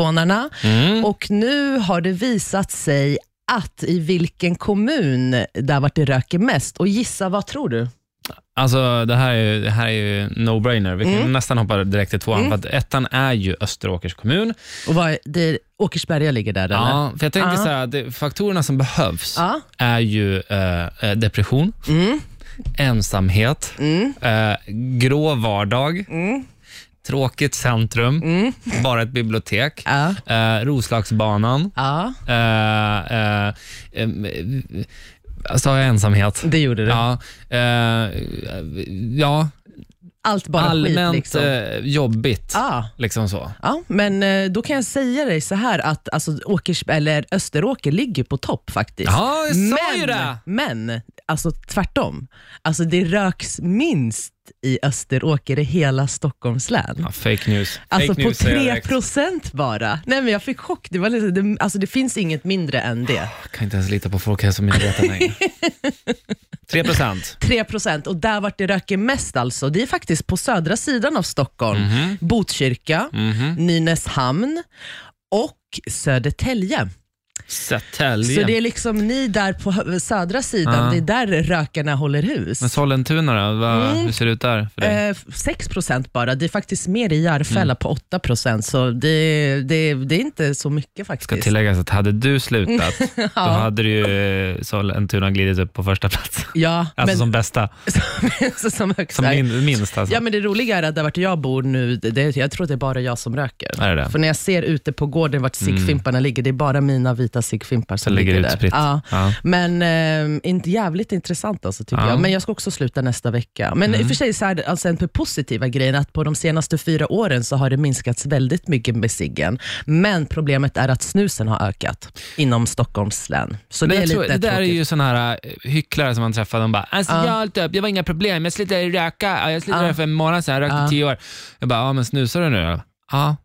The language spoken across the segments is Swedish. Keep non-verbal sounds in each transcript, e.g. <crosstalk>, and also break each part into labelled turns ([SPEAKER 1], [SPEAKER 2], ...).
[SPEAKER 1] invånarna.
[SPEAKER 2] Mm.
[SPEAKER 1] Och nu har det visat sig att i vilken kommun det har varit det röker mest. Och gissa, vad tror du?
[SPEAKER 2] Alltså det här är ju, det här är ju no-brainer. Vi kan
[SPEAKER 1] Mm.
[SPEAKER 2] nästan hoppa direkt till tvåan,
[SPEAKER 1] Mm.
[SPEAKER 2] för att ettan är ju Österåkers kommun.
[SPEAKER 1] Och vad, det, Åkersberga ligger där, eller?
[SPEAKER 2] Ja, för jag tänker
[SPEAKER 1] Ja.
[SPEAKER 2] så här, det, faktorerna som behövs
[SPEAKER 1] Ja.
[SPEAKER 2] är ju eh, eh, depression,
[SPEAKER 1] Mm,
[SPEAKER 2] ensamhet,
[SPEAKER 1] mm,
[SPEAKER 2] eh, grå vardag,
[SPEAKER 1] mm,
[SPEAKER 2] tråkigt centrum,
[SPEAKER 1] mm.
[SPEAKER 2] bara ett bibliotek,
[SPEAKER 1] Ja.
[SPEAKER 2] eh, Roslagsbanan,
[SPEAKER 1] ja,
[SPEAKER 2] eh, eh, em, eh, sa jag ensamhet?
[SPEAKER 1] det gjorde du.
[SPEAKER 2] Ja, eh, ja
[SPEAKER 1] Allt bara
[SPEAKER 2] allmänt
[SPEAKER 1] skit. Liksom.
[SPEAKER 2] eh, jobbigt.
[SPEAKER 1] Ja.
[SPEAKER 2] Liksom så.
[SPEAKER 1] Ja, men eh, då kan jag säga dig så här att alltså, Åkers, eller Österåker ligger på topp faktiskt.
[SPEAKER 2] Ja, jag sa
[SPEAKER 1] men,
[SPEAKER 2] ju det!
[SPEAKER 1] men alltså tvärtom. Alltså det röks minst i Österåker i hela Stockholms län.
[SPEAKER 2] Ja, fake news.
[SPEAKER 1] Alltså
[SPEAKER 2] fake
[SPEAKER 1] på
[SPEAKER 2] news säger jag
[SPEAKER 1] 3
[SPEAKER 2] direkt.
[SPEAKER 1] procent bara. Nej men jag fick chock. Det, var liksom, det, alltså, det finns inget mindre än det.
[SPEAKER 2] Jag kan inte ens lita på
[SPEAKER 1] <laughs>
[SPEAKER 2] Folkhälsomyndigheten längre. 3 procent.
[SPEAKER 1] 3 procent och där vart det röker mest alltså, det är faktiskt på södra sidan av Stockholm.
[SPEAKER 2] Mhm.
[SPEAKER 1] Botkyrka,
[SPEAKER 2] Mm.
[SPEAKER 1] Nynäshamn och Södertälje. Så det
[SPEAKER 2] Södertälje.
[SPEAKER 1] är liksom ni där på hö- södra sidan,
[SPEAKER 2] Ja.
[SPEAKER 1] det är där rökarna håller hus.
[SPEAKER 2] Men Sollentuna då? Vad-
[SPEAKER 1] Mm.
[SPEAKER 2] Hur ser det Mm. ut där för dig?
[SPEAKER 1] Eh, 6 procent bara. Det är faktiskt mer i Järfälla på 8 procent, så det, det, det är inte så mycket
[SPEAKER 2] Ska
[SPEAKER 1] faktiskt.
[SPEAKER 2] tilläggas att hade du slutat, då
[SPEAKER 1] <laughs> Ja.
[SPEAKER 2] hade du ju eh, Sollentuna glidit upp på första plats.
[SPEAKER 1] Ja,
[SPEAKER 2] Alltså
[SPEAKER 1] <laughs> men,
[SPEAKER 2] som bästa,
[SPEAKER 1] som, som högst.
[SPEAKER 2] som min, minst alltså.
[SPEAKER 1] Ja, men det roliga är att där vart jag bor nu, det- det, jag tror att det är bara jag som röker.
[SPEAKER 2] Är det det?
[SPEAKER 1] För när jag ser ute på gården vart sigfimparna ligger, det är bara mina vita sigfimpar som
[SPEAKER 2] Det ligger
[SPEAKER 1] ligger där.
[SPEAKER 2] utspritt.
[SPEAKER 1] Ja.
[SPEAKER 2] Ja.
[SPEAKER 1] Men ehm, inte jävligt intressant alltså, tycker
[SPEAKER 2] Ja. Mm.
[SPEAKER 1] jag. Men jag ska också sluta nästa vecka. Men i och för sig, så här, alltså, en positiva grejen att på de senaste fyra åren så har det minskats väldigt mycket med ciggen. Men problemet är att snusen har ökat inom Stockholms län. Så
[SPEAKER 2] Men
[SPEAKER 1] det är
[SPEAKER 2] jag tror,
[SPEAKER 1] lite
[SPEAKER 2] det där är
[SPEAKER 1] tråkigt.
[SPEAKER 2] ju sådana här eh, hycklare som man träffar. De bara, alltså, jag har allt upp, det var inga problem, jag slutade röka. Ja, Jag slutade
[SPEAKER 1] Ja.
[SPEAKER 2] för en månad sedan, jag rökte
[SPEAKER 1] Ja.
[SPEAKER 2] tio år. Jag bara, ja, men snusar du nu då? Ja.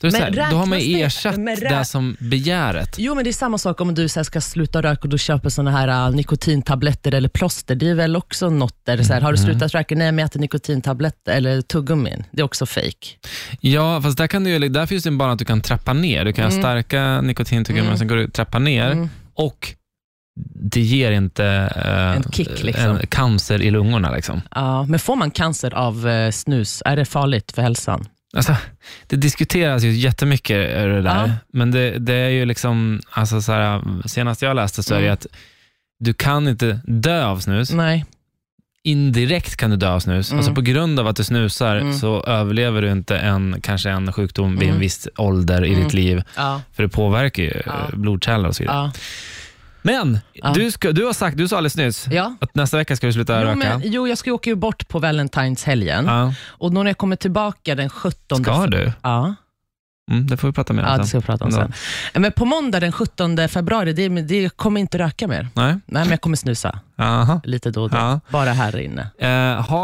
[SPEAKER 2] Då, är det så
[SPEAKER 1] Men
[SPEAKER 2] här, då har man ju
[SPEAKER 1] räknas det?
[SPEAKER 2] ersatt
[SPEAKER 1] Men rä-
[SPEAKER 2] det som begäret.
[SPEAKER 1] Jo, men det är samma sak om du så här, ska sluta röka och du köper såna här ah, nikotintabletter eller plåster. Det är väl också något där, så här, har du
[SPEAKER 2] Mm.
[SPEAKER 1] slutat röka? Nej, men jag äter nikotintabletter eller tuggummin. Det är också fake.
[SPEAKER 2] Ja, fast där, kan du, ju- där finns det en bana att du kan trappa ner. Du kan ha starka nikotintuggummin,
[SPEAKER 1] Mm.
[SPEAKER 2] sen går du trappa ner och det ger inte eh,
[SPEAKER 1] En kick, liksom.
[SPEAKER 2] en cancer i lungorna. Liksom.
[SPEAKER 1] Ja, men får man cancer av eh, snus, är det farligt för hälsan?
[SPEAKER 2] Alltså, det diskuteras ju jättemycket eh, det där,
[SPEAKER 1] Ja.
[SPEAKER 2] men det, det är ju liksom, alltså så här, senast jag läste så är det
[SPEAKER 1] Mm.
[SPEAKER 2] att du kan inte dö av snus.
[SPEAKER 1] Nej.
[SPEAKER 2] Indirekt kan du dö av snus.
[SPEAKER 1] Mm.
[SPEAKER 2] Alltså på grund av att du snusar
[SPEAKER 1] Mm.
[SPEAKER 2] så överlever du inte en, kanske en sjukdom vid en
[SPEAKER 1] Mm.
[SPEAKER 2] viss ålder i
[SPEAKER 1] Mm.
[SPEAKER 2] ditt liv,
[SPEAKER 1] Ja,
[SPEAKER 2] för det påverkar ju
[SPEAKER 1] Ja.
[SPEAKER 2] ja. blodkärl och så vidare.
[SPEAKER 1] ja.
[SPEAKER 2] Men
[SPEAKER 1] Ja.
[SPEAKER 2] du, ska, du har sagt, du sa alldeles nyss
[SPEAKER 1] ja.
[SPEAKER 2] att nästa vecka ska du sluta
[SPEAKER 1] Jo,
[SPEAKER 2] röka.
[SPEAKER 1] men, Mm. jo, jag ska ju åka ju bort på Valentine's-helgen
[SPEAKER 2] Ja.
[SPEAKER 1] och då när jag kommer tillbaka den 17...
[SPEAKER 2] Ska du?
[SPEAKER 1] Ja,
[SPEAKER 2] Mm, det får vi prata mer om
[SPEAKER 1] ja, det ska
[SPEAKER 2] sen.
[SPEAKER 1] vi prata om sen. Men på måndag den 17 februari, det, det jag kommer inte röka mer.
[SPEAKER 2] Nej?
[SPEAKER 1] Nej, men jag kommer snusa
[SPEAKER 2] Aha.
[SPEAKER 1] lite då och då.
[SPEAKER 2] Ja.
[SPEAKER 1] Bara här inne.
[SPEAKER 2] Eh, har